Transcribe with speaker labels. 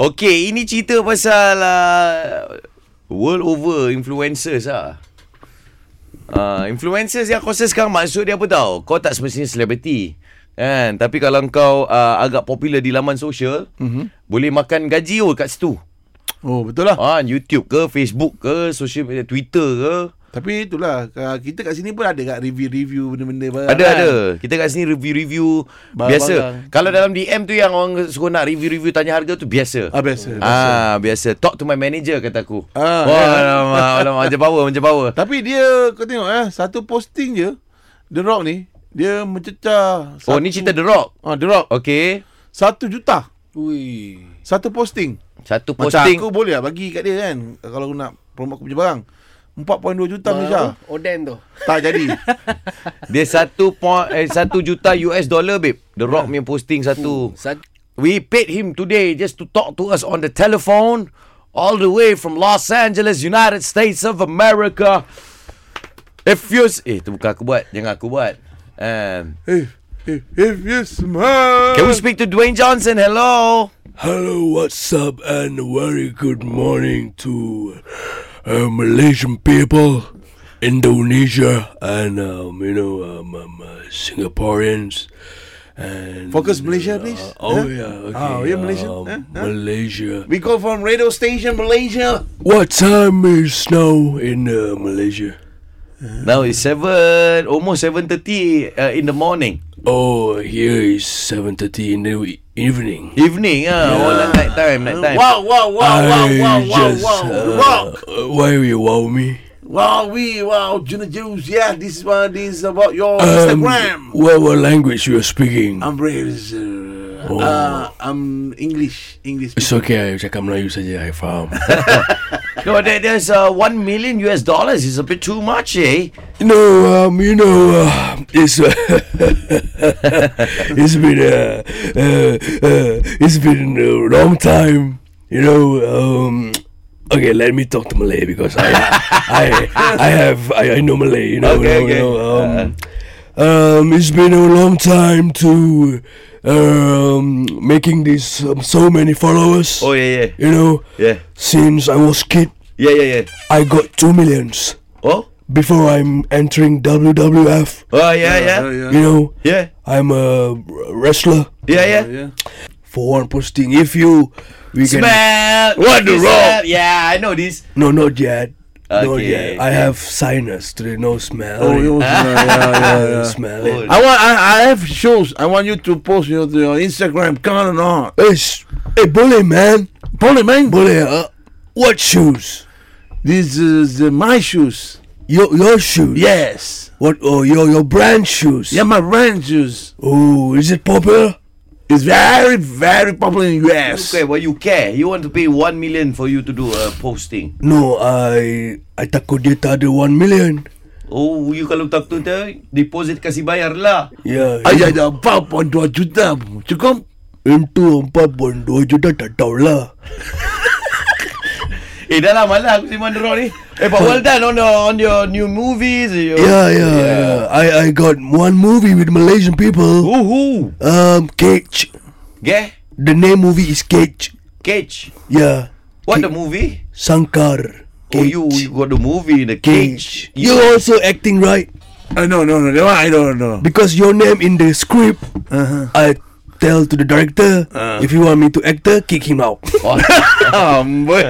Speaker 1: Okey, ini cerita pasal uh, world over influencers lah. Uh, influencers yang kau rasa sekarang maksud dia apa tau? Kau tak semestinya selebriti. Kan? Tapi kalau kau uh, agak popular di laman sosial, mm-hmm. boleh makan gaji oh kat situ.
Speaker 2: Oh betul lah.
Speaker 1: Ah, YouTube ke, Facebook ke, social media, Twitter ke.
Speaker 2: Tapi itulah ah, kita kat sini pun ada kat review-review benda-benda barang.
Speaker 1: Ada
Speaker 2: kan?
Speaker 1: ada. Kita kat sini review-review
Speaker 2: Barang-barang.
Speaker 1: biasa. Kalau dalam DM tu yang orang suka nak review-review tanya harga tu biasa.
Speaker 2: Ah biasa. biasa.
Speaker 1: Ah biasa. Talk to my manager kata aku.
Speaker 2: Ah,
Speaker 1: Wah,
Speaker 2: kan?
Speaker 1: alamak, alamak, macam power, macam power.
Speaker 2: Tapi dia kau tengok eh satu posting je The Rock ni dia mencecah
Speaker 1: Oh, ni cerita The Rock.
Speaker 2: Ah The Rock
Speaker 1: Okey.
Speaker 2: satu juta
Speaker 3: Ui.
Speaker 2: satu posting.
Speaker 1: Satu posting.
Speaker 2: posting. Macam aku boleh lah bagi kat dia kan kalau aku nak promote aku punya barang. 4.2 juta Malaysia.
Speaker 3: Malaysia. Oden tu.
Speaker 2: Tak jadi.
Speaker 1: Dia satu point, eh, satu juta US dollar, babe. The Rock punya posting satu.
Speaker 3: Sat-
Speaker 1: We paid him today just to talk to us on the telephone all the way from Los Angeles, United States of America. If you... s- Eh, tu bukan aku buat. Jangan aku buat. Um,
Speaker 2: if, if, if you smile.
Speaker 1: can we speak to Dwayne Johnson? Hello?
Speaker 4: Hello, what's up, and a very good morning to uh, Malaysian people, Indonesia, and um, you know, um, um, uh, Singaporeans. And
Speaker 2: Focus Malaysia, please.
Speaker 4: Uh, oh
Speaker 2: Huh?
Speaker 4: yeah, okay.
Speaker 2: Oh, yeah, Malaysia.
Speaker 4: um,
Speaker 2: Huh? Huh?
Speaker 4: Malaysia.
Speaker 2: We go from radio station Malaysia.
Speaker 4: What time is snow in uh, Malaysia?
Speaker 1: Now it's 7, almost 7.30 uh, in the morning.
Speaker 4: Oh, here is seven thirty in the e- evening.
Speaker 1: Evening, ah, yeah. all night time, night time.
Speaker 3: Wow, wow, wow, wow,
Speaker 4: I
Speaker 3: wow, wow,
Speaker 4: just,
Speaker 3: wow.
Speaker 4: uh,
Speaker 3: Wow.
Speaker 4: uh, why you wow me?
Speaker 2: Wow, we wow, Junior Juice. Yeah, this one this is about your
Speaker 4: Um,
Speaker 2: Instagram.
Speaker 4: what, what language you are speaking?
Speaker 1: Um,
Speaker 4: Oh,
Speaker 2: I'm Braves. Uh, uh, I'm English. English.
Speaker 4: It's okay, I cakap Melayu saja, I faham.
Speaker 1: No, there, there's uh, 1 million US dollars. It's a bit too much, eh?
Speaker 4: no, um, you know, uh, it's, uh, it's been a, uh, uh, it's been a long time, you know, um, okay, let me talk to Malay because I, I, I have, I, I know Malay, you know,
Speaker 1: Okay,
Speaker 4: you know, you
Speaker 1: okay. Uh-huh.
Speaker 4: know, um, um, it's been a long time to, um, making this, um, so many followers,
Speaker 1: Oh, yeah, yeah.
Speaker 4: you know,
Speaker 1: Yeah,
Speaker 4: since I was kid,
Speaker 1: yeah, yeah, yeah.
Speaker 4: I got two millions
Speaker 1: Oh?
Speaker 4: before I'm entering WWF.
Speaker 1: Oh, yeah, yeah.
Speaker 2: yeah.
Speaker 4: You know,
Speaker 1: Yeah,
Speaker 4: I'm a wrestler
Speaker 1: yeah, yeah.
Speaker 2: yeah.
Speaker 4: for one posting. If you, we can.
Speaker 1: Smell!
Speaker 4: What the
Speaker 1: Smell. Yeah, I know this.
Speaker 4: No, not yet. Not
Speaker 1: Okay. Ah.
Speaker 4: yet. I have sinus. Do they know smell?
Speaker 2: Oh, you also, yeah, yeah, yeah.
Speaker 4: Smell it.
Speaker 2: I want. I, I have shows. I want you to post your, your Instagram. Come on, on.
Speaker 4: Hey, sh- hey, bully man, bully man, bully. Uh, what shoes?
Speaker 2: This is uh, my shoes.
Speaker 4: Your your shoes?
Speaker 2: Yes.
Speaker 4: What? Oh, your your brand shoes?
Speaker 2: Yeah, my brand shoes.
Speaker 4: Oh, is it popular?
Speaker 2: It's very, very popular in US.
Speaker 1: Okay, well, eh, you care. You want to pay 1 million for you to do a posting.
Speaker 4: No, I I takut dia tak ada one million.
Speaker 1: Oh, you kalau tak tu, tu, deposit kasih bayar lah.
Speaker 4: Yeah.
Speaker 2: Ayah dah 4.2 juta. Cukup?
Speaker 4: Itu 4.2 juta tak lah. tahulah.
Speaker 1: Eh, dah lama lah aku simpan derong ni. Eh, but well done on, the, on your new movies. eh, Your...
Speaker 4: Yeah, yeah, yeah, Ya, I I got one movie with Malaysian people.
Speaker 1: Woohoo!
Speaker 4: Um, Cage.
Speaker 1: Yeah?
Speaker 4: The name movie is Cage. Ya,
Speaker 1: Cage.
Speaker 4: Yeah,
Speaker 1: What the movie?
Speaker 4: Sankar.
Speaker 1: Oh, you, you got the movie in the cage.
Speaker 4: Cage. You also acting right
Speaker 2: Uh, no, no, no. That one I don't know.
Speaker 4: because your name in the script.
Speaker 2: Uh-huh.
Speaker 4: I tell to the director if you want me to actor, kick him out.
Speaker 1: Oh, amboi.